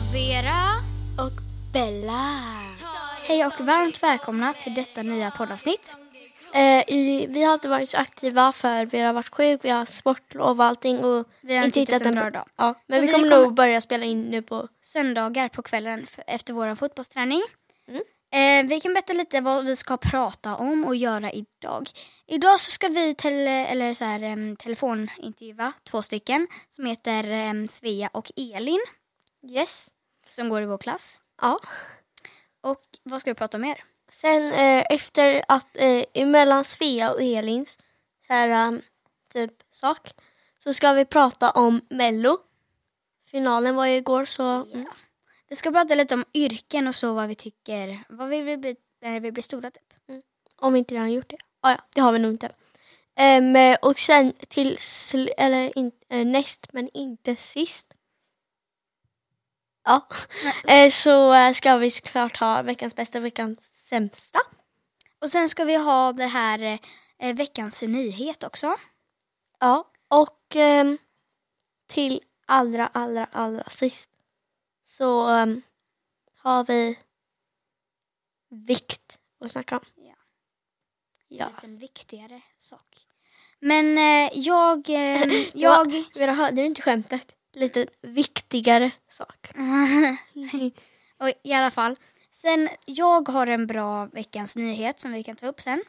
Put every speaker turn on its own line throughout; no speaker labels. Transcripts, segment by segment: Sara.
och Bella.
Hej och varmt välkomna till detta nya poddavsnitt.
Eh, i, vi har inte varit så aktiva för vi har varit sjuk, vi har haft sportlov och allting. Och
Vi har inte hittat en bra dag.
Ja, men
Så
vi
vi
kommer
kommer-
nog börja spela in nu på...
Söndagar på kvällen f- efter vår fotbollsträning.
Mm.
Eh, vi kan berätta lite vad vi ska prata om och göra idag. Idag så ska vi tele- eller så här, em, telefonintervjua två stycken som heter em, Svea och Elin
Yes.
som går i vår klass.
Ja.
Och vad ska vi prata om mer?
Sen eh, efter att eh, emellan Svea och Elins så här, eh, typ sak så ska vi prata om Mello. Finalen var ju igår så... Mm.
Vi ska prata lite om yrken och så vad vi tycker, vad vi vill bli när vi blir stora typ.
Om inte redan gjort det. Ah, ja, det har vi nog inte. Ehm, eh, och sen till sl- eller in, eh, näst men inte sist. Ja, eh, så eh, ska vi såklart ha veckans bästa, veckans sämsta.
Och sen ska vi ha det här eh, eh, veckans nyhet också.
Ja, och ehm, till allra, allra, allra sist så ehm, har vi vikt att snacka om.
Ja.
Ja. alltså.
En viktigare sak. Men eh, jag, eh, jag,
Jag hörde du inte skämtet? Lite viktigare sak.
Mm. och i alla fall. Sen, jag har en bra veckans nyhet som vi kan ta upp sen.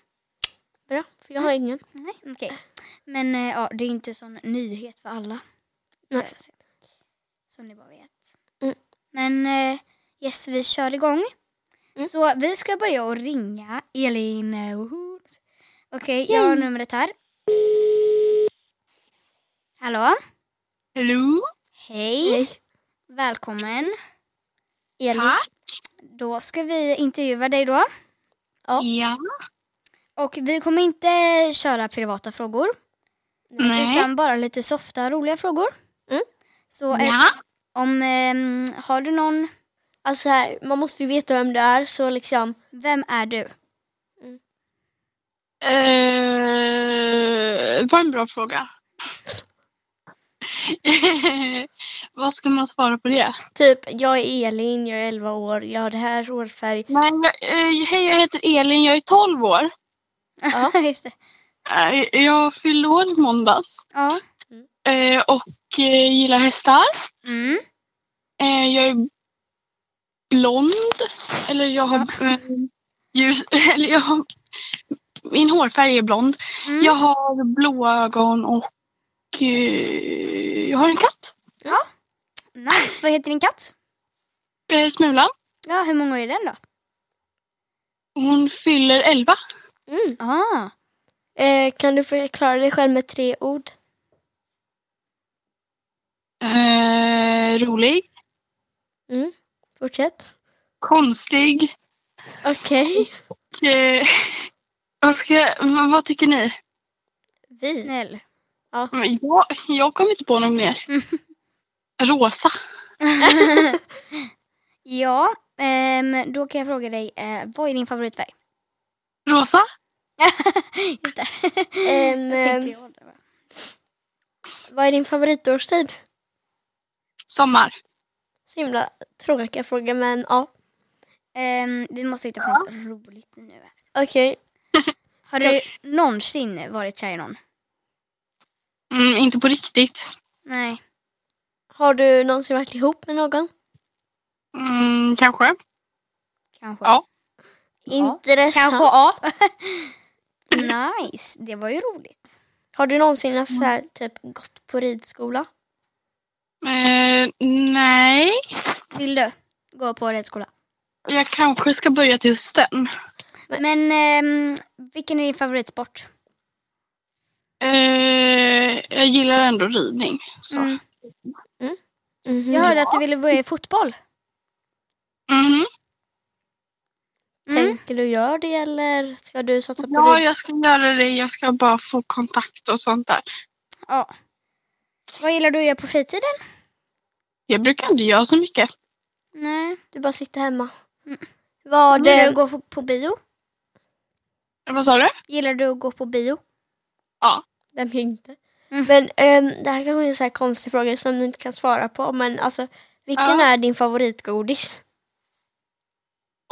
Bra, för jag har
Mm.
ingen.
Nej, okej. Men eh, ja, det är inte sån nyhet för alla.
Nej.
Kan jag säga. Som ni bara vet.
Mm.
Men eh, yes, vi kör igång.
Mm.
Så vi ska börja och ringa Elin. eh, woho. Okej, jag har numret här. Hallå?
Hello,
Hej. Välkommen.
Elin.
tack.
Då ska vi intervjua dig då.
Ja.
Ja,
Och vi kommer inte köra privata frågor.
nej.
Utan bara lite softa, roliga frågor.
Mm.
Så eh,
Ja,
Om, ehm, har du någon,
Alltså här, man måste ju veta vem du är så liksom.
vem är du?
eh, det var en bra fråga. Vad ska man svara på det?
Typ, jag är Elin, jag är 11 år, jag har det här hårfärg.
Nej, jag, eh, hej, jag heter Elin, jag är 12 år.
Ja.
Just det.
Eh, jag fyllde år i måndags
Ja.
eh, och eh, gillar hästar.
Mm.
Eh, jag är blond, eller jag har eh, ljus, eller jag har, min hårfärg är blond.
Mm.
Jag har blåa ögon och eh, jag har en katt.
Nice. Vad heter din katt?
Eh, Smulan.
Ja, hur många är den då?
Hon fyller 11.
Mm.
Ah.
Eh, kan du förklara dig själv med tre ord?
Eh, rolig.
Fortsätt.
Konstig.
Okej.
Eh, vad, ska, jag- vad, vad tycker ni?
Vi.
Snäll.
Men Jag, jag kommer inte på något mer. Rosa.
Ja, ehm, då kan jag fråga dig, eh, vad är din favoritfärg?
Rosa?
Just det. Eh,
Ehm,
Mm. Jag tänkte jag det, va?
vad är din favoritårstid?
Sommar.
Så himla tråkiga frågor men ja.
Ehm, vi måste hitta på något roligt nu. här.
Okej.
Har
Ska-
du någonsin varit kär i någon?
Mm, inte på riktigt.
Nej.
Har du någonsin varit ihop med någon?
Mm, kanske.
Kanske.
Ja.
Intressant.
Kanske ja. nice. Det var ju roligt.
Har du någonsin alltså, så här,
Mm.
typ, gått på ridskola?
Eh, nej.
Vill du gå på ridskola?
Jag kanske ska börja till hösten.
Men ehm, vilken är din favoritsport?
Eh, jag gillar ändå ridning. Så.
Mm.
Mhm.
Jag hörde att du ville börja i fotboll.
Mhm.
Mm.
Tänker du göra det eller ska du satsa på
Ja,
rid-
jag ska göra det. Jag ska bara få kontakt och sånt där.
Ja. Vad gillar du att göra på fritiden?
Jag brukar inte göra så mycket.
Nej.
Du bara sitter hemma. Var
Gillar du att
det...
gå på bio?
Vad sa du?
Gillar du att gå på bio?
Vem gör inte?
Mm.
Men ehm, det här kanske är en så här konstig fråga som du inte kan svara på. Men alltså, Vilken
Ja.
är din favoritgodis?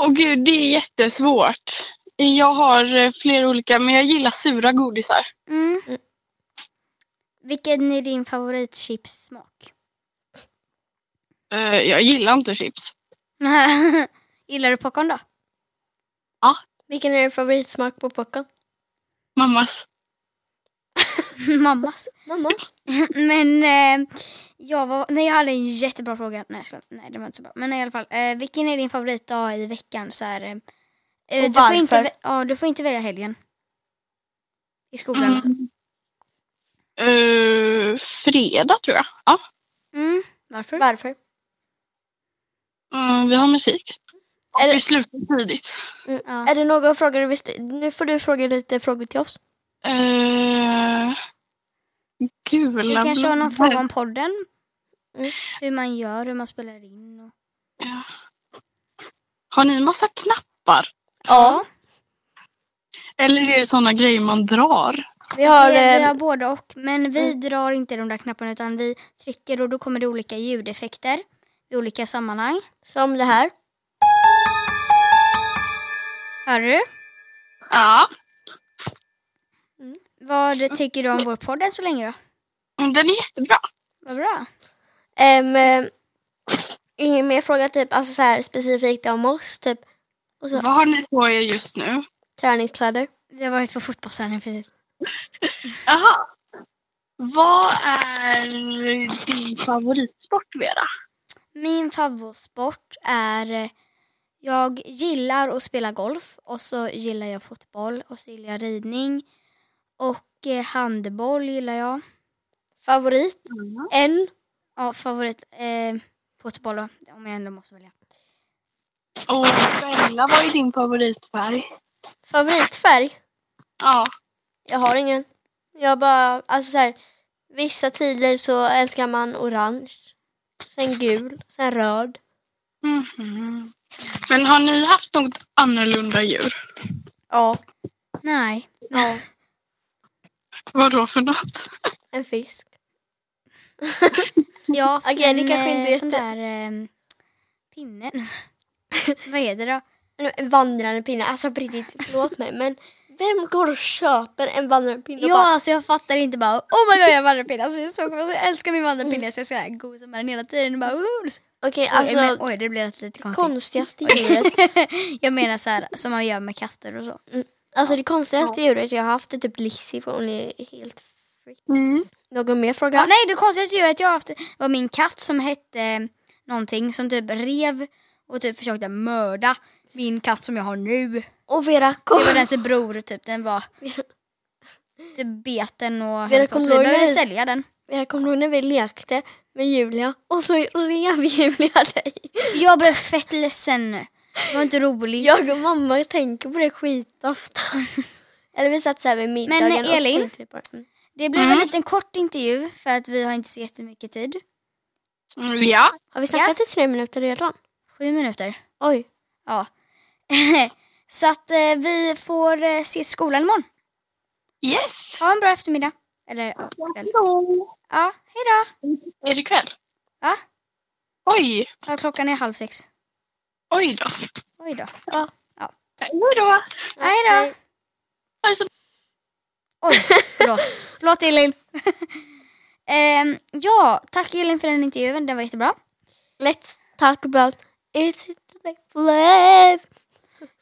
Åh gud, det är jättesvårt. Jag har eh, flera olika, men jag gillar sura godisar.
Mm. Vilken är din favoritchipssmak?
Eh, Jag gillar inte chips.
Gillar du popcorn då?
Vilken är din favoritsmak på popcorn?
Mammas.
Mammas.
Mammas.
Men eh, jag var, nej jag hade en jättebra fråga. Nej jag skojar. nej det var inte så bra. Men i alla fall, eh, vilken är din favoritdag i veckan? Så här, eh, du får
varför?
inte, vä- ja, du får inte välja helgen. I skolan.
Mm.
alltså.
Eh, fredag tror jag. Ja,
Mm. Varför?
Varför?
mm, vi har musik. Och
Är det-
vi slutar tidigt.
Ja.
Är det några frågor du visste? Nu får du fråga lite frågor till oss.
Uh,
Du
gula
kanske har någon
blommor.
fråga om podden?
Mm.
Hur man gör, hur man spelar in. Och...
Har ni massa knappar?
Ja.
Eller är det sådana grejer man drar?
Vi har...
vi, vi
eh, Mm.
har både och, men vi drar inte de där knapparna utan vi trycker och då kommer det olika ljudeffekter i olika sammanhang.
Som det här.
Hör du?
Ja,
Vad tycker du om vår podd än så länge då?
men Mm, den är jättebra.
Vad bra.
Ehm, eh, ingen mer fråga typ alltså så här specifikt om oss typ och så
Vad har ni på er just nu?
träningskläder.
Vi har varit på fotbollsträning precis.
Jaha. Vad är din favoritsport, Vera?
Min favoritsport är eh, jag gillar att spela golf och så gillar jag fotboll och så gillar jag ridning och eh, handboll gillar jag.
Favorit?
Mm.
En?
Ja, favorit eh, fotboll då, om jag ändå måste välja.
Och Bella, vad är din favoritfärg?
Favoritfärg?
Ja.
Jag har ingen. Jag bara, alltså så här, vissa tider så älskar man orange, sen gul, sen röd.
Mhm. Men har ni haft något annorlunda djur?
Ja,
Nej.
ja,
Vad då för något?
en fisk.
Ja,
Okej,
en,
det kanske inte är
eh, sån
jätte-
där eh, pinne. Vad heter det då?
En- En vandrande pinne, alltså på riktigt, förlåt mig men vem går och köper en vandrande pinne och
Ja,
bara,
alltså jag fattar inte bara oh my god jag har vandrarpinne. Alltså, jag, såg, alltså, jag älskar min vandrarpinne så jag ska gosa med den hela tiden. Och bara, oh.
okej
alltså, men,
alltså
oj, det blev lite konstigt.
konstigaste djuret
jag menar så här som man gör med katter och så.
Alltså det konstigaste djuret jag har haft är typ Lizzie för hon är helt freak.
Mm.
Någon mer fråga?
Ja, nej, det konstigaste djuret jag har haft var min katt som hette eh, någonting som typ rev och typ försökte mörda min katt som jag har nu.
Och Vera, kom,
Det var dens bror typ, den var typ beten och höll
Vera,
på, så
kommer
vi
du
behövde
ihåg när-
sälja den.
Vera, kom du ihåg när vi lekte med Julia och så rev Julia dig?
Jag blev fett ledsen nu. Det var inte roligt.
Jag och mamma tänker på det skitofta. Eller vi satt såhär vid middagen och så
Elin?
tänkte vi på det. Mm.
Det blev en
Mm.
liten kort intervju för att vi har inte så jättemycket tid.
Mm, Ja.
Har vi snackat
Yes.
i tre minuter redan?
Sju minuter.
Oj.
Ja. så att eh, vi får eh, ses i skolan imorgon.
Yes.
Ha en bra eftermiddag. Eller ja, kväll.
Hallå.
Ja, hej då.
Är det kväll?
Va?
Oj.
Ja, klockan är halv sex.
Oj då.
Oj då.
Hej då.
Hej då.
Ha det så
Oj, förlåt. förlåt Elin. Ehm, ja, tack Elin för den intervjun. Den var jättebra.
Let's talk about is it like love?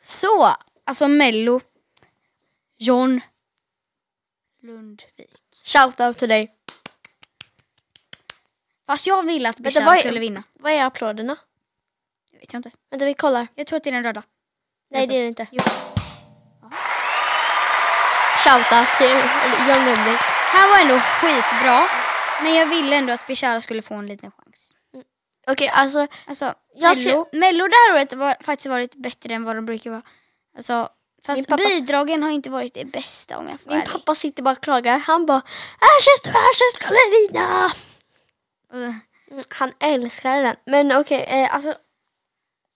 Så, alltså Mello. John Lundvik.
Shout out till dig.
Fast jag ville att
Vänta, vad
Bishan
är-
skulle vinna.
Vad är applåderna?
Det vet jag inte.
Vänta vi kollar.
Jag tror att det är den röda.
Nej det är det inte.
Jo.
Shout out till John Lundvik.
Han var ändå skitbra. Men jag ville ändå att Bishara skulle få en liten chans.
Okej alltså
Alltså,
Jag
Mello, Mello det här året har faktiskt varit bättre än vad de brukar vara. Alltså,
Min
fast
pappa-
bidragen har inte varit det bästa om jag får vara
Min
ärlig.
pappa sitter bara och klagar. Han bara Ashes, Ashes skulle vinna!
Och-
Mm, Han älskar den. Men okej, eh, alltså.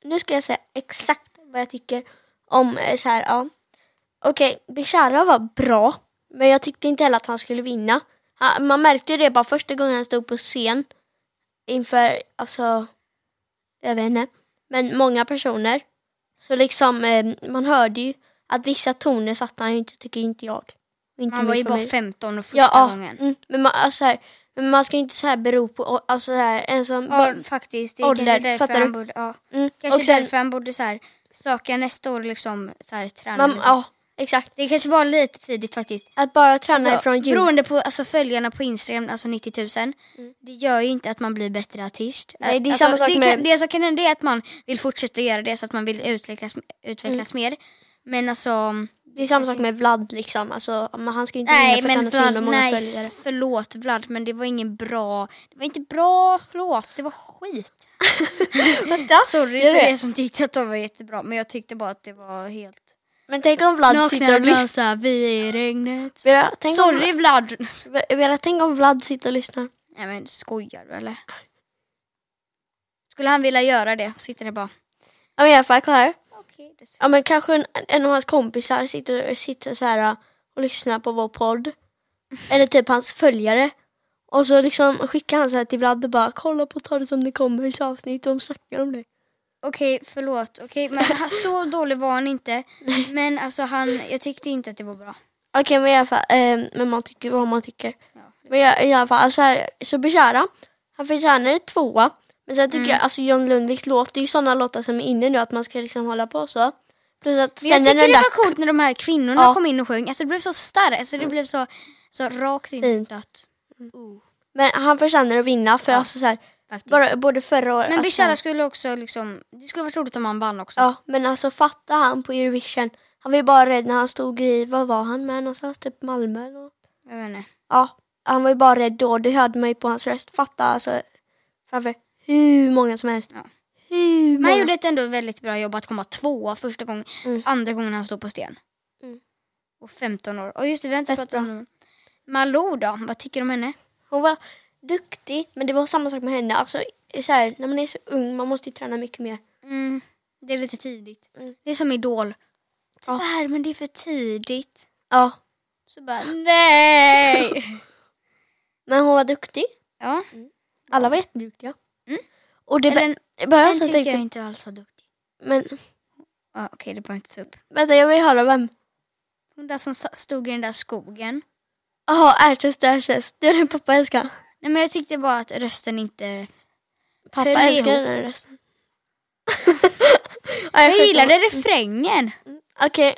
Nu ska jag säga exakt vad jag tycker om eh, så här, ja. Okej, Bishara var bra. Men jag tyckte inte heller att han skulle vinna. Han, man märkte ju det bara första gången han stod på scen. Inför, alltså, jag vet inte, men många personer. Så liksom, eh, man hörde ju att vissa toner satte han ju inte, tycker inte jag. Och Inte
Man var
min
ju bara
familj.
15 och första
ja, ja,
gången.
Mm, men, man, alltså, så här, men man ska ju inte så här bero på, alltså så här, en som...
Ja, faktiskt. Det är
ålder,
kanske därför
fattar
han
du?
borde, ja,
mm,
kanske
och sen-
därför han borde så här, söka nästa år liksom, så här, träna.
man,
lite.
Ja, exakt.
Det kanske var lite tidigt faktiskt.
Att bara träna
Alltså,
ifrån jul.
beroende på alltså, följarna på Instagram, alltså 90 000, det gör ju inte att man blir bättre artist.
Mm. Nej, det är
alltså,
samma sak
det,
med-
kan, det som kan hända är att man vill fortsätta göra det så att man vill utvecklas, utvecklas mer. Men alltså,
Mm. Det är samma sak med Vlad liksom. Alltså, men han ska ju inte vinna
nej
för att han
men
har så himla
Vlad,
många
nej
följare.
förlåt Vlad men det var ingen bra, det var inte bra, förlåt det var skit. Sorry för det som tyckte att de var jättebra men jag tyckte bara att det var helt...
Men tänk om Vlad sitter
Nakna
och lyssnar.
blösa, vi är i regnet.
Vera, Tänk, om-
Sorry Vlad.
Vera, tänk om Vlad sitter och lyssnar.
Nej men skojar du eller? Skulle han vilja göra det? Sitter det bara.
Ja, men i alla fall, kolla här.
Okej, det
Ja, men kanske en, en av hans kompisar sitter, sitter så här äh, och lyssnar på vår podd. Eller typ hans följare. Och så liksom skickar han så här till Vlad och bara kolla på Ta det som det kommer i avsnitt. De snackar om det.
Okej, förlåt. Okej, men han, så dålig var han inte. Men alltså han, jag tyckte inte att det var bra.
Okej, men i alla fall. Eh, men man tycker vad man tycker. Men jag, i alla fall, alltså, här, så Bishara, han förtjänar ett tvåa. Men sen
Mm.
tycker jag, alltså John Lundviks låt, det är ju sådana låtar som är inne nu att man ska liksom hålla på så. Plus att
Men jag
sen
tyckte
är den
det
där
var coolt när de här kvinnorna
Ja. Mm.
kom in och sjöng. Alltså det blev så starkt, alltså det blev så, så rakt in i
Fint.
hjärtat. Oh,
Mm. Men han förtjänar att vinna för alltså så här,
faktiskt.
bara, både förra året.
Men
alltså,
Bishara skulle också liksom, det skulle varit roligt om han vann också.
Ja, men alltså fatta han på Eurovision. Han var ju bara rädd när han stod i, vad var han med någonstans? Typ Malmö eller något.
Jag vet inte.
Ja, han var ju bara rädd då. Det hörde man ju på hans röst. Fatta alltså framför hur många som helst.
Ja.
Hur många?
Man gjorde ett ändå väldigt bra jobb att komma tvåa första gången,
Mm.
andra gången han står på sten.
Mm.
Och 15 år. Och just det, vi har inte
Rätt
pratat om Malou då, vad tycker du om henne?
Hon var duktig, men det var samma sak med henne. Alltså, så här, när man är så ung, man måste ju träna mycket mer.
Mm, det är lite tidigt.
Mm.
Det är som Idol.
Ja.
Tyvärr, men det är för tidigt.
Ja,
Så bara, nej!
men hon var duktig.
ja,
Alla var jätteduktiga.
Mm.
Och det
Eller
började jag
en- den
så
tyckte jag
tänkte,
inte alls var duktig.
men
Ja, Okej, det behöver jag inte ta upp.
vänta, jag vill höra vem.
Hon där som sa- stod i den där skogen.
Jaha, Ernst och Ernst. Det är den pappa älskar.
Nej, men jag tyckte bara att rösten inte...
Pappa
Hör
älskar
ihop.
den här rösten. ja,
Jag
skiter-
gillade refrängen.
Okej,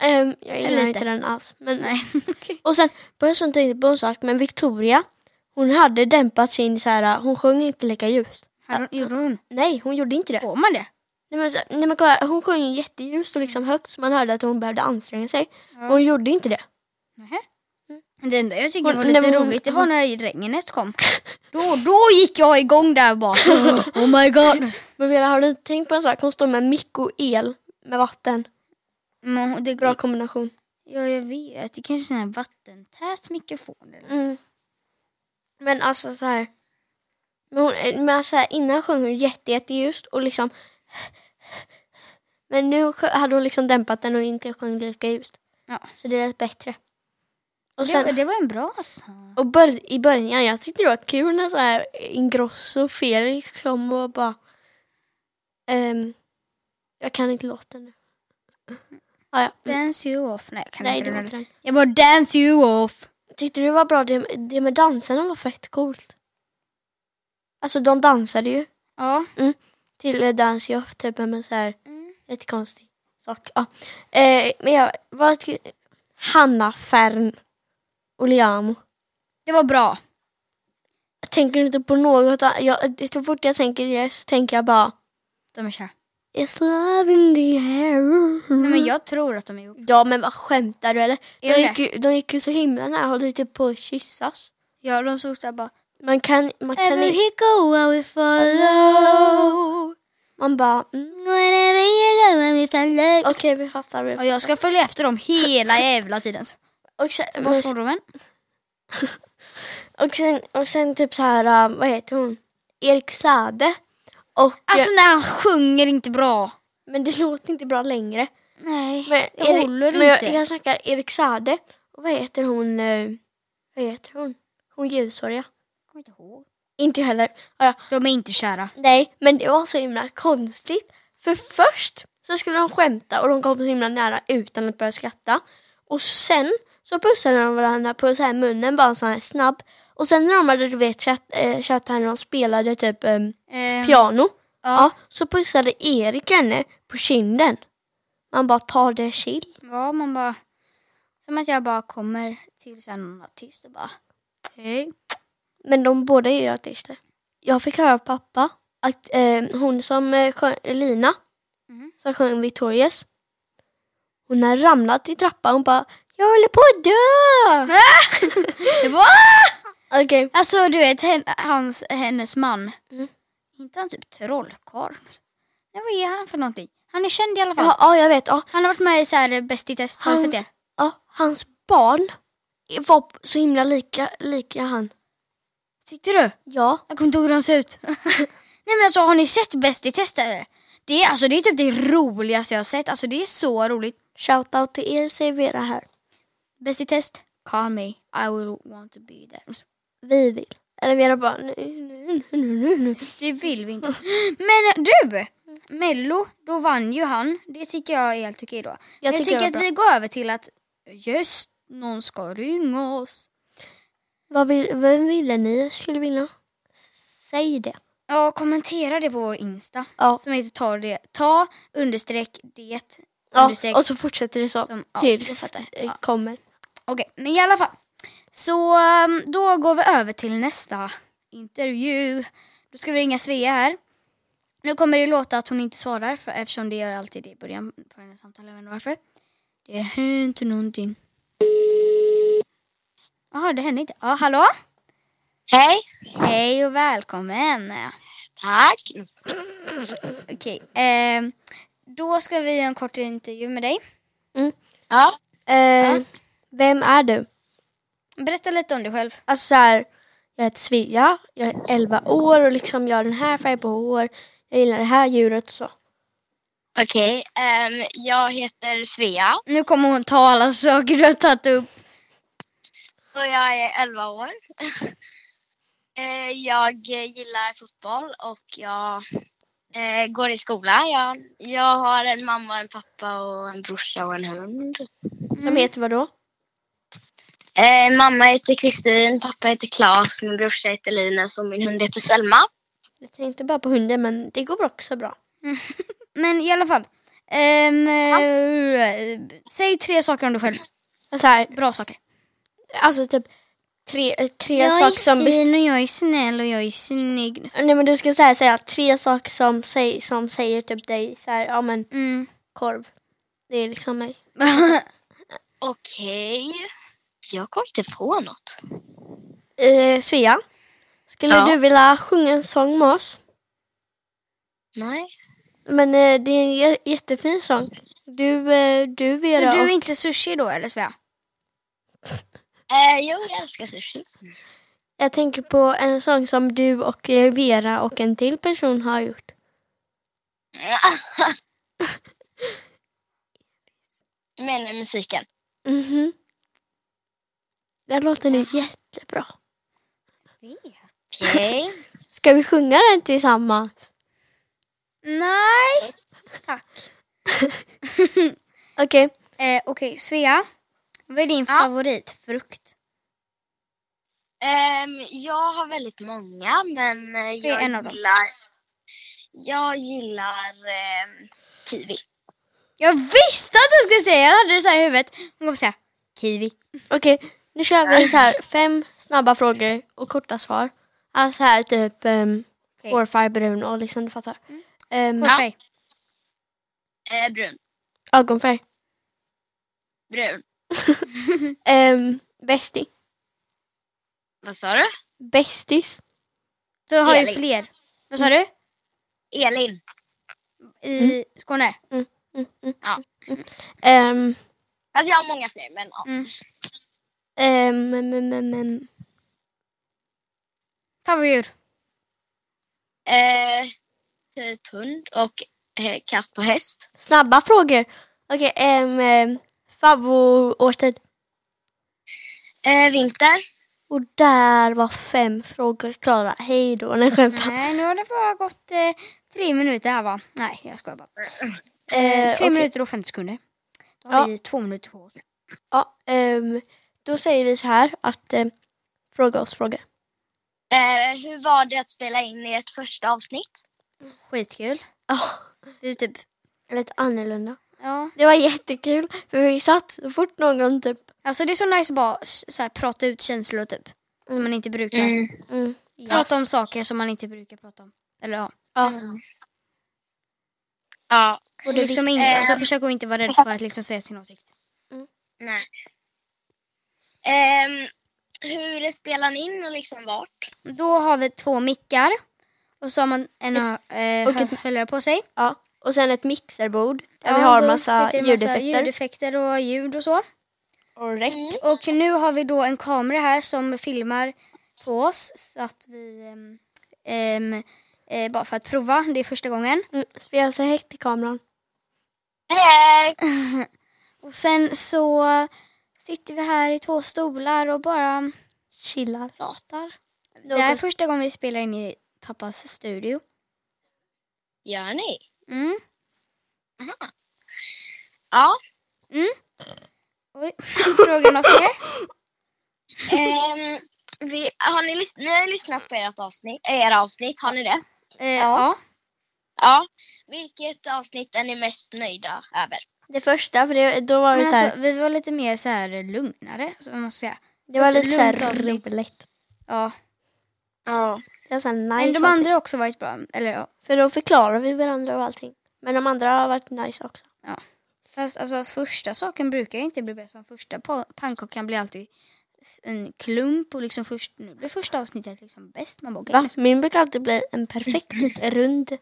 ehm, jag gillar
Lite.
inte den alls. Men...
Nej, okej.
Och sen började jag så tänka på en sak, men Victoria, hon hade dämpat sin så här, hon sjöng inte lika ljust.
Hade hon- Gjorde hon?
Nej, hon gjorde inte det.
Får man det?
Nej men, så, nej, men kolla, hon sjöng ju jätteljust och liksom högt så man hörde att hon behövde anstränga sig. Men Hon gjorde inte det.
Nähä. Det enda jag tycker
Hon-
Mm. var
nej,
lite
men hon-
roligt det var när regnet kom. Då, då gick jag igång där och bara. Oh my god.
Men Vera, har du inte tänkt på en sak? Hon står med mick och el med vatten.
Men hon- det,
Bra kombination.
Ja, jag vet. Det kanske är en vattentät mikrofon. Eller?
Mm. Men alltså så här. Men, hon, men alltså, här, innan sjöng hon jätte, jätteljust och liksom Men nu sjö- hade hon liksom dämpat den och inte sjöng lika ljust.
Ja.
Så det lät bättre. Och sen,
Det, det var en bra sång.
Och bör, i början, jag tyckte det var kul när så här Ingrosso och Felix kom och bara... ehm, jag kan inte låten nu. Ah, ja.
Dance you off. Nej, jag Mm. kan
Nej,
inte
det var
den.
inte den.
Jag bara dance you off.
Tyckte du det var bra? Det, det med danserna var fett coolt. Alltså de dansade ju
Ja.
till eh, Dance Off typ med så här
Mm.
jättekonstig sak. Ja. Eh, men jag, vad tycker Hanna Färn Oliamo.
Det var bra.
Jag tänker inte på något annat. Jag, eh, så fort jag tänker det så tänker jag bara
De är kära.
It's love in the air.
Nej, men jag tror att de är ihop.
Ja men vad skämtar du eller? De
Är det?
gick, ju, de gick ju så himla nära och höll typ på att kyssas.
Ja, de såg såhär bara.
Man kan, man kan
Every
inte,
he go where we follow.
man bara mm,
Wherever you go where we follow.
okej vi fattar. Vi
Och jag ska följa efter dem hela jävla tiden.
Och sen, men-
Morgonroven.
och sen, och sen typ så här, äh, vad heter hon? Erik Sade. Och, äh,
Alltså när han sjunger inte bra.
Men det låter inte bra längre.
Nej,
Men
det
Erik-
håller
men
inte.
Jag, jag snackar Erik Sade. äh, Och vad heter hon? eh, Vad heter hon? Hon ljushåriga.
kommer inte ihåg.
Inte jag heller. Ja, ja.
De är inte kära.
Nej, men det var så himla konstigt. För först så skulle de skämta och de kom så himla nära utan att börja skratta. Och sen så pussade de varandra på så här munnen, bara så här snabb. Och sen när de hade du vet chatt, eh, chattat här när de spelade typ eh,
Ehm,
piano. Ja.
ja.
så pussade Erik henne på kinden. Man bara tar det chill.
ja, man bara... Som att jag bara kommer till så här någon artist och bara... Hej.
Men de båda är ju artister. Jag fick höra av pappa att eh, hon som eh, sjöng, Lina,
Mhm.
som sjöng Victorious, hon har ramlat i trappan och bara jag håller på att dö!
Det var...
Okej,
Alltså du vet, hen, hans, hennes man.
Mm.
Inte han typ trollkarl? Nej, vad är han för någonting? Han är känd i alla fall.
ja, ja jag vet. Ja.
Han har varit med i så här Bäst i test, har du sett
Hans,
det?
ja, hans barn var så himla lika, lika han.
Tyckte du?
Ja,
Jag kommer inte ihåg hur de ser ut. Nej men alltså har ni sett Bäst i test eller? Det är, alltså, det är typ det roligaste jag har sett. Alltså det är så roligt.
shoutout till er säger Vera här.
Bäst i test, call me. I will want to be there. Alltså,
Vi vill. Eller Vera bara nu, nu, nu, nu, nu.
Det vill vi inte. Men eh, du! Mello, då vann ju han. Det tycker jag är helt okej då. Jag,
tycker
tycker,
det var
att
bra.
vi går över till att just någon ska ringa oss.
Vad vill, vem ville ni skulle vilja? Säg det.
Ja, kommentera det på vår Insta
Ja.
som heter ta det, ta understreck det
Ja,
understreck
och så fortsätter det så
som, ja, jag
tills
fattar.
det
Ja.
kommer.
Okej, men i alla fall. Så ehm, då går vi över till nästa intervju. Då ska vi ringa Svea här. Nu kommer det låta att hon inte svarar för, eftersom det gör alltid det i början på hennes samtal. Jag vet inte varför. Det hände inte någonting. Jaha, det hände inte. Ja, hallå?
Hej.
Hej och välkommen.
Tack.
Okej, ehm, då ska vi göra en kort intervju med dig.
Ja.
Eh, Vem är du?
Berätta lite om dig själv.
Alltså så här, jag heter Svea, jag är 11 år och liksom jag har den här färgen på hår. Jag gillar det här djuret och så.
Okej. ehm, jag heter Svea
Nu kommer hon ta alla saker du har tagit upp.
och jag är 11 år. Eh, jag gillar fotboll och jag eh, går i skola. Jag, jag har en mamma, en pappa och en brorsa och en hund.
Som
Mm.
heter vad då?
Eh, mamma heter Kristin, pappa heter Klas, min brorsa heter Linus och min hund heter Selma.
Jag tänkte bara på hunden men det går också bra.
Men i alla fall. Ehm, eh, Säg tre saker om dig själv.
Och så här,
Bra saker.
alltså typ tre, eh, tre saker som... bes-
och jag är snäll och jag är snygg.
Nej men du ska så här, säga tre saker som, säg, som säger typ dig så här, ja men
Mm.
korv. Det är liksom mig.
Okej. Jag kom inte på något.
Eh, Svea, skulle
Ja.
du vilja sjunga en sång med oss?
Nej.
Men eh, det är en jä- jättefin sång. Du, eh, du
Så
Vera
du är
och
inte sushi då eller Svea?
Eh, jo, jag älskar sushi.
jag tänker på en sång som du och eh, Vera och en till person har gjort.
Men med musiken.
Mhm. Den låter nu jättebra.
Okej.
Ska vi sjunga den tillsammans?
Nej. Tack.
Okej,
Eh, Okej, Svea. Vad är din
Ja.
favoritfrukt?
Ehm, jag har väldigt många, men eh,
Säg
jag
en av dem.
gillar... Jag gillar ehm, kiwi.
Jag visste att du skulle säga Jag hade det så här i huvudet. Hon kommer säga kiwi.
okej. Nu kör vi så här fem snabba frågor och korta svar. Alltså här typ um,
Okej.
hårfärg, brun och liksom du fattar.
Mm.
Ehm,
Hårfärg.
Eh, brun.
Ögonfärg.
Brun.
Um, bästis.
Vad sa du?
Bästis.
Du har ju
Elin.
fler. Vad sa du?
Elin.
I
Mm.
Skåne?
Ehm,
Alltså jag har många fler, men ja.
Mm.
ehm, mm, mm, mm, mm.
Favoritdjur?
Eh, typ hund och eh, katt och häst.
Snabba frågor. Okej, ehm, okay, um, favoritårstid.
Eh, vinter.
Och där var fem frågor klara. Hej då, nej skämtar.
Nej, nu har det bara gått eh, tre minuter här va? Nej, jag skojar bara.
Eh,
Mm.
Eh, tre
okej.
minuter och 50 sekunder. Då har
Ja.
vi två minuter på oss.
Ja, ehm, då säger vi så här att ehm, fråga oss frågor.
Eh, hur var det att spela in i ett första avsnitt?
Skitkul.
Ja,
Vi typ,
lite annorlunda.
ja.
Det var jättekul för vi satt så fort någon typ
Alltså det är så nice att bara s- så här, prata ut känslor typ. Som man inte brukar.
mm,
Prata om saker som man inte brukar prata om. Eller ja.
ja,
Ja,
Och det liksom in,
Eh.
alltså, försök att inte vara rädd för att liksom säga sin åsikt.
nej. Ehm, hur spelar ni in och liksom vart?
Då har vi två mickar. Och så har man en eh,
och ett-
hö- höll på sig.
ja. Och sen ett mixerbord där vi
Ja,
har
då
massa
sitter det
ljudeffekter.
ljudeffekter och ljud och så.
Och räck.
Mm.
Och nu har vi då en kamera här som filmar på oss så att vi ehm, ehm, eh, bara för att prova, det är första gången.
Mm, spela så högt i kameran.
Eh,
Och sen så sitter vi här i två stolar och bara
Chillar.
pratar. Det här är
Någon,
första gången vi spelar in i pappas studio.
gör ni?
Mm.
Ja.
Mm. Oj, fråga något mer?
Ehm, vi, har ni, lys- ni har ju lyssnat på ert avsnitt, eh, era avsnitt, har ni det?
Eh, ja.
Ja. Vilket avsnitt är ni mest nöjda över?
det första, för det, då var det
Men
så här,
alltså, vi var lite mer så här eh, lugnare, så man ska säga.
det var
alltså,
lite så här
lugnt avsnitt.
roligt.
Ja.
Ja.
Det var så här nice
Men de
avsnitt.
andra har också varit bra. Eller ja.
För då förklarar vi varandra och allting. Men de andra har varit nice också.
Fast alltså första saken brukar inte bli bättre. Första pa- pannkakan blir alltid s- en klump och liksom först, nu blir första avsnittet liksom bäst. Man bara, okej,
Va? Min brukar alltid bli en perfekt rund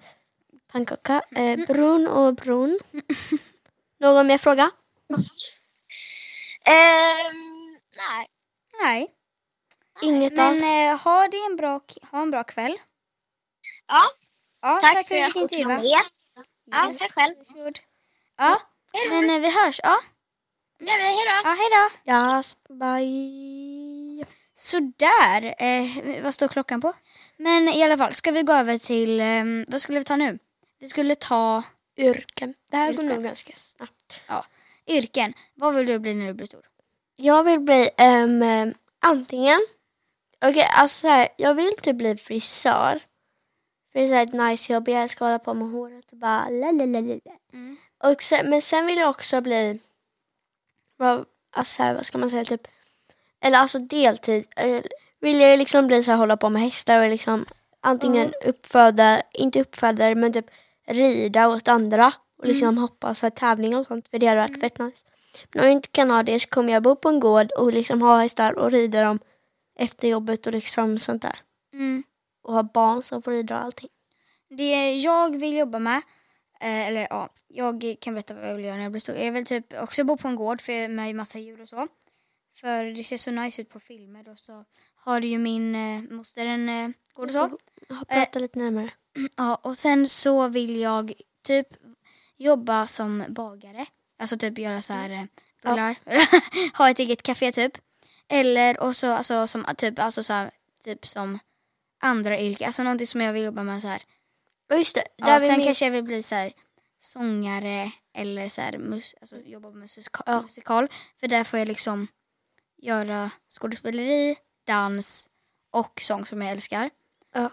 pannkaka. Eh, brun och brun. Någon mer fråga?
Ehm, nej.
nej.
Inget
Men
alls.
eh, ha, det en bra, k- ha en bra kväll.
Ja,
Ja,
tack,
tack, för att du fick intervjua.
intervjun. Ja, tack själv.
Varsågod. Ja,
Hej då.
men eh, vi hörs. Ja,
Ja, men hej då.
ja hej då.
Yes, bye.
Sådär, eh, vad står klockan på? Men i alla fall, ska vi gå över till, ehm, vad skulle vi ta nu? Vi skulle ta
Yrken. Det här går
Yrken.
nog ganska snabbt.
yrken. Vad vill du bli när du blir stor?
Jag vill bli ehm, eh, antingen... Okej, alltså så här, jag vill typ bli frisör. För det är så här ett nice jobb. Jag älskar att hålla på med håret och bara la la la la. la.
Mm.
Och sen, men sen vill jag också bli, vad, alltså så här, vad ska man säga, typ, eller alltså deltid. eh, Vill jag ju liksom bli så här, hålla på med hästar och liksom antingen uppföda, inte uppfödare men typ rida åt andra och liksom hoppa så här, tävlingar och sånt för det hade varit fett nice. Men om jag inte kan ha det så kommer jag bo på en gård och liksom ha hästar och rida dem efter jobbet och liksom sånt där.
Mm.
Och ha barn som får rida och allting.
Det jag vill jobba med, eh, eller ja, jag kan berätta vad jag vill göra när jag blir stor. Jag vill typ också bo på en gård för med massa djur och så. För det ser så nice ut på filmer och så har ju min eh, moster en eh, gård och så.
Ja,
Eh,
Prata lite närmare.
Ja, och sen så vill jag typ jobba som bagare. Alltså typ göra så här eh, bullar. ha ett eget café typ. Eller och så alltså som typ alltså så här, typ som andra yrken. Alltså någonting som jag vill jobba med så här
Ja just det, där
Ja,
vill
sen
min-
kanske jag vill bli så här, sångare eller så här, mus- alltså, jobba med musika-
Ja.
musikal. För där får jag liksom göra skådespeleri, dans och sång som jag älskar.
Ja.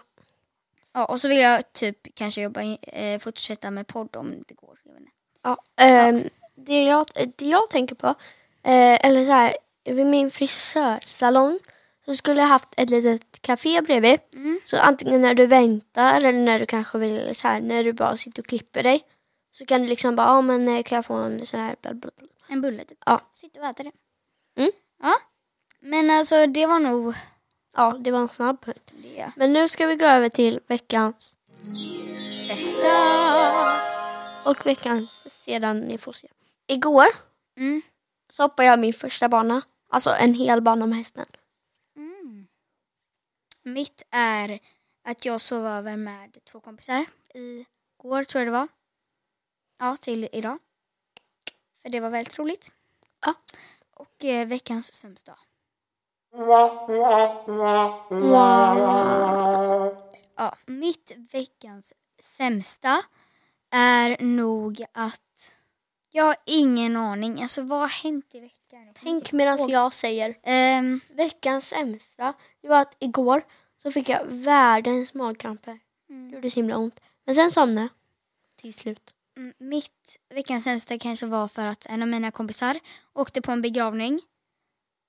Ja, och så vill jag typ kanske jobba i, eh, fortsätta med podd om det går. Jag vet inte.
Ja, ehm, Det, jag, det jag tänker på, eh, eller så här, vid min frisörsalong så skulle jag haft ett litet café bredvid.
Mm.
Så antingen när du väntar eller när du kanske vill, så här, när du bara sitter och klipper dig. Så kan du liksom bara, ja men eh, kan jag få en sån här, bla, bla, bla.
En bulle typ.
Ja.
Sitter och äter det.
Mm.
Ja. Men alltså det var nog
Ja, det var en snabb punkt.
det
Men nu ska vi gå över till veckans
bästa.
och veckans sedan ni får se. Igår
Mm.
så hoppade jag min första bana, alltså en hel bana med hästen.
Mm. Mitt är att jag sov över med två kompisar igår tror jag det var. Ja, till idag. För det var väldigt roligt.
Ja.
Och eh, veckans sömnsdag. Ja, mitt veckans sämsta är nog att jag har ingen aning. Alltså vad har hänt i veckan?
Tänk medan jag säger
Ehm,
veckans sämsta. Det var att igår så fick jag världens magkramper. Det gjorde så himla ont. Men sen somnade jag. Till slut.
Mm, Mitt veckans sämsta kanske var för att en av mina kompisar åkte på en begravning.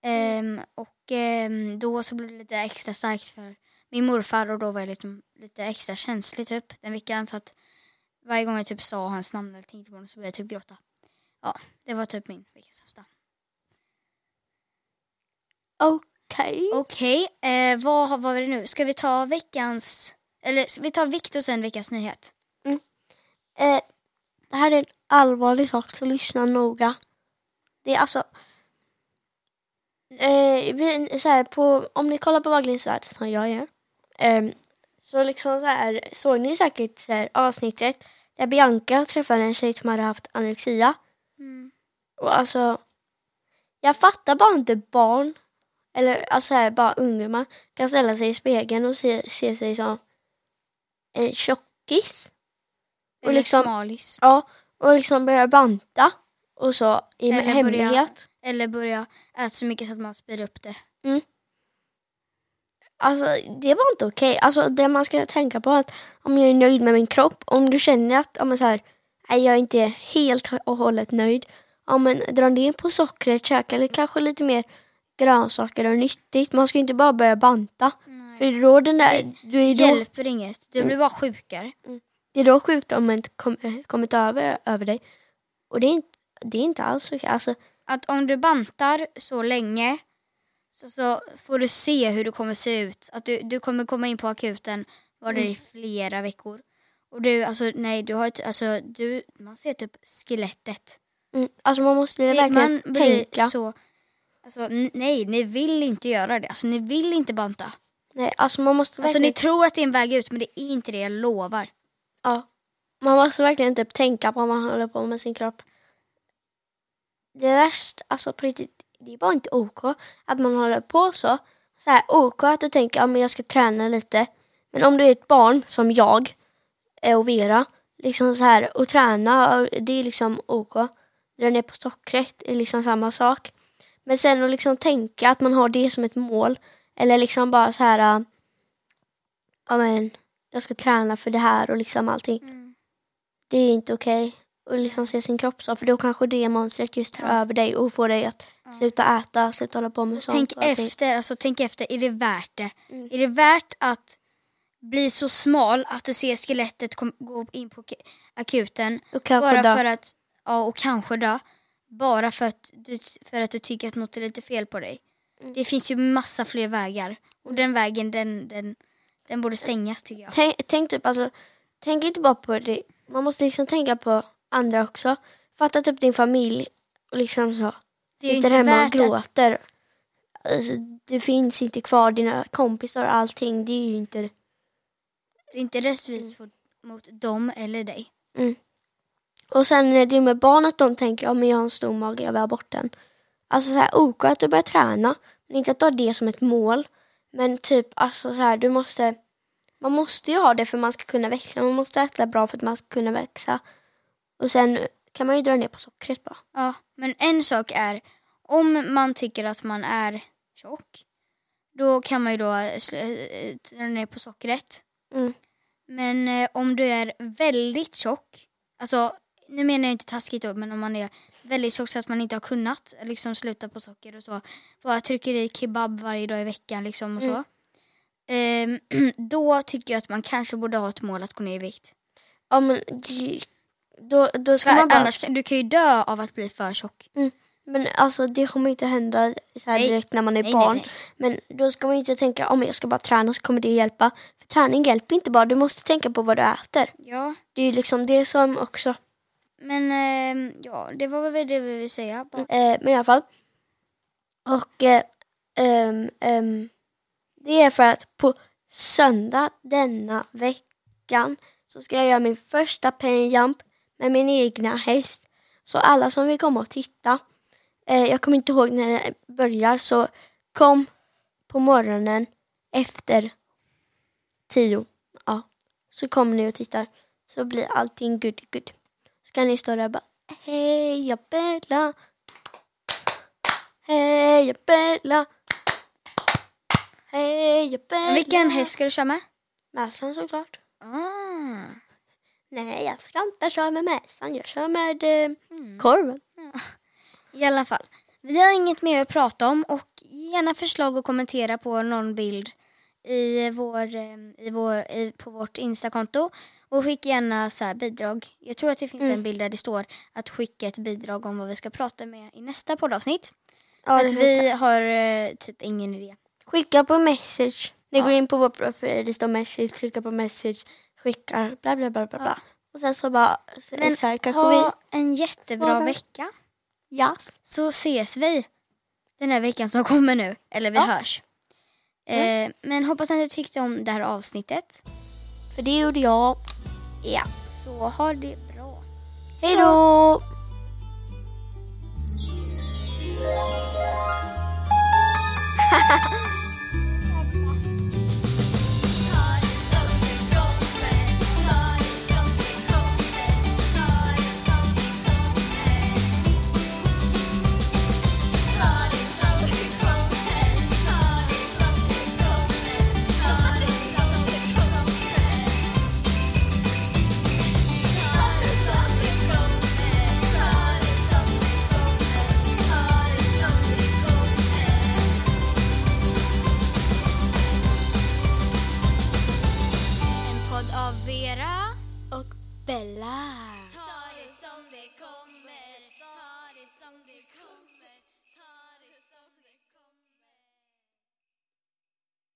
Ehm, och ehm, då så blev det lite extra starkt för min morfar och då var jag liksom lite extra känslig typ den veckan. Så att varje gång jag typ sa hans namn eller tänkte på honom så började jag typ gråta. Ja, det var typ min veckans sämsta.
Okej.
Okej, eh, vad har- vad var det nu? Ska vi ta veckans, eller ska vi ta Viktor sen veckans nyhet?
Eh, det här är en allvarlig sak så lyssna noga. Det är alltså... Eh, vi, så här, på, om ni kollar på Wahlgrens värld som jag gör. ehm, så liksom så här, såg ni säkert så här, avsnittet där Bianca träffade en tjej som hade haft anorexia. Mm. Och alltså, jag fattar bara inte barn, eller alltså här, bara ungdomar, kan ställa sig i spegeln och se, se sig som en tjockis. Och
Eller
liksom-
smalis.
Ja, och liksom börja banta och så i
Eller börja-
hemlighet.
Eller börja äta så mycket så att man spyr upp det.
Alltså det var inte okej. Alltså det man ska tänka på är att om jag är nöjd med min kropp, om du känner att ja, men så här, nej, jag är inte helt och hållet nöjd, ja men dra ner på sockret, käka lite, kanske lite mer grönsaker och nyttigt. Man ska inte bara börja banta. För då den där, du är då,
hjälper inget. Du blir bara sjukare.
det är då sjukdomen kom, kommit över, över dig. Och det är inte, det är inte alls okej. Alltså,
Att om du bantar så länge så, så får du se hur du kommer se ut. Att du, du kommer komma in på akuten var det i
Mm.
flera veckor. Och du, alltså nej, du har ett, alltså du, man ser typ skelettet.
mm, alltså man måste
Det, man
verkligen
blir
tänka.
så, alltså n- nej, ni vill inte göra det. Alltså ni vill inte banta.
Nej, alltså man måste
Alltså ni
verkligen,
tror att det är en väg ut men det är inte det, jag lovar.
ja, man måste verkligen typ tänka på vad man håller på med sin kropp. Det är värst, alltså på riktigt, det är bara inte OK att man håller på så. Så här, OK att du tänker, ja men jag ska träna lite. Men om du är ett barn som jag eh, och Vera, liksom så här, och träna, och det är liksom OK. Dra ner på sockret, är liksom samma sak. Men sen att liksom tänka att man har det som ett mål. Eller liksom bara så här, äh, ja men jag ska träna för det här och liksom allting.
Mm.
Det är inte okej. Och liksom se sin kropp så, för då kanske det monstret just tar över dig och får dig att sluta äta, sluta hålla på med sånt. Mm.
Tänk
och allting.
efter, alltså tänk efter, är det värt det? Är det värt att bli så smal att du ser skelettet kom, gå in på ak- akuten
Och kanske
bara
dö.
för att, ja och kanske dö, bara för att, du, för att du tycker att något är lite fel på dig?
Mm.
Det finns ju massa fler vägar och den vägen den, den, den borde stängas tycker jag.
Tänk, tänk typ alltså, tänk inte bara på det. Man måste liksom tänka på andra också. Fatta typ din familj och liksom så.
Det
sitter
är inte
hemma och
värt att-
gråter. Alltså, det finns inte kvar dina kompisar och allting. Det är ju inte...
Det är inte rättvist för, mot dem eller dig.
Och sen är det med barnet, de tänker ja men jag har en stor mage, jag vill ha bort den. Alltså så här, ok att du börjar träna, men inte att du har det som ett mål. Men typ alltså så här, du måste, man måste ju ha det för man ska kunna växa, man måste äta bra för att man ska kunna växa. Och sen kan man ju dra ner på sockret bara.
Ja, men en sak är om man tycker att man är tjock då kan man ju då eh, sl- eh, dra ner på sockret.
Mm.
Men eh, om du är väldigt tjock, alltså nu menar jag inte taskigt då, men om man är väldigt tjock så att man inte har kunnat liksom sluta på socker och så, bara trycker i kebab varje dag i veckan liksom och så. Ehm, då tycker jag att man kanske borde ha ett mål att gå ner i vikt.
Ja men det- då, då ska
För
man bara...
annars kan, du kan ju dö av att bli för tjock.
Men alltså det kommer inte hända så här
Nej.
direkt när man är
Nej,
barn.
nej,
Men då ska man ju inte tänka om jag ska bara träna så kommer det hjälpa. För träning hjälper inte bara, du måste tänka på vad du äter.
Ja.
Det är ju liksom det som också.
Men ehm, ja, det var väl det vi ville säga. Bara.
Eh, men i alla fall. Och eh, ehm, ehm, det är för att på söndag denna veckan så ska jag göra min första penjump med min egna häst. Så alla som vill komma och titta, eh, jag kommer inte ihåg när det börjar så kom på morgonen efter tio. Ja. Så kommer ni och tittar. Så blir allting good, good. Så kan ni stå där och bara Heja Bella! Heja Bella! Heja Bella!
Vilken häst ska du köra med?
Mässan såklart.
Ah.
Nej, jag ska inte köra med mässan. Jag kör med eh,
Mm.
korven.
I alla fall. Vi har inget mer att prata om och gärna förslag och kommentera på någon bild i vår, eh, i vår, i, på vårt Instakonto. Och skicka gärna så här bidrag. Jag tror att det finns
Mm.
en bild där det står att skicka ett bidrag om vad vi ska prata med i nästa poddavsnitt.
Ja,
För
det
att
finns-
vi har eh, typ ingen idé.
Skicka på message. Ni går in på vår profil, det står message, klicka på message, skickar, bla bla bla bla. bla. Och sen så bara, så,
Men
så här, kanske
ha en jättebra
svarar.
vecka.
vi... Yes.
Så ses vi den här veckan som kommer nu. Eller vi
Ja. Mm.
hörs. Eh, men hoppas att ni tyckte om det här avsnittet.
För det gjorde jag.
Ja, så ha det bra.
Hej då!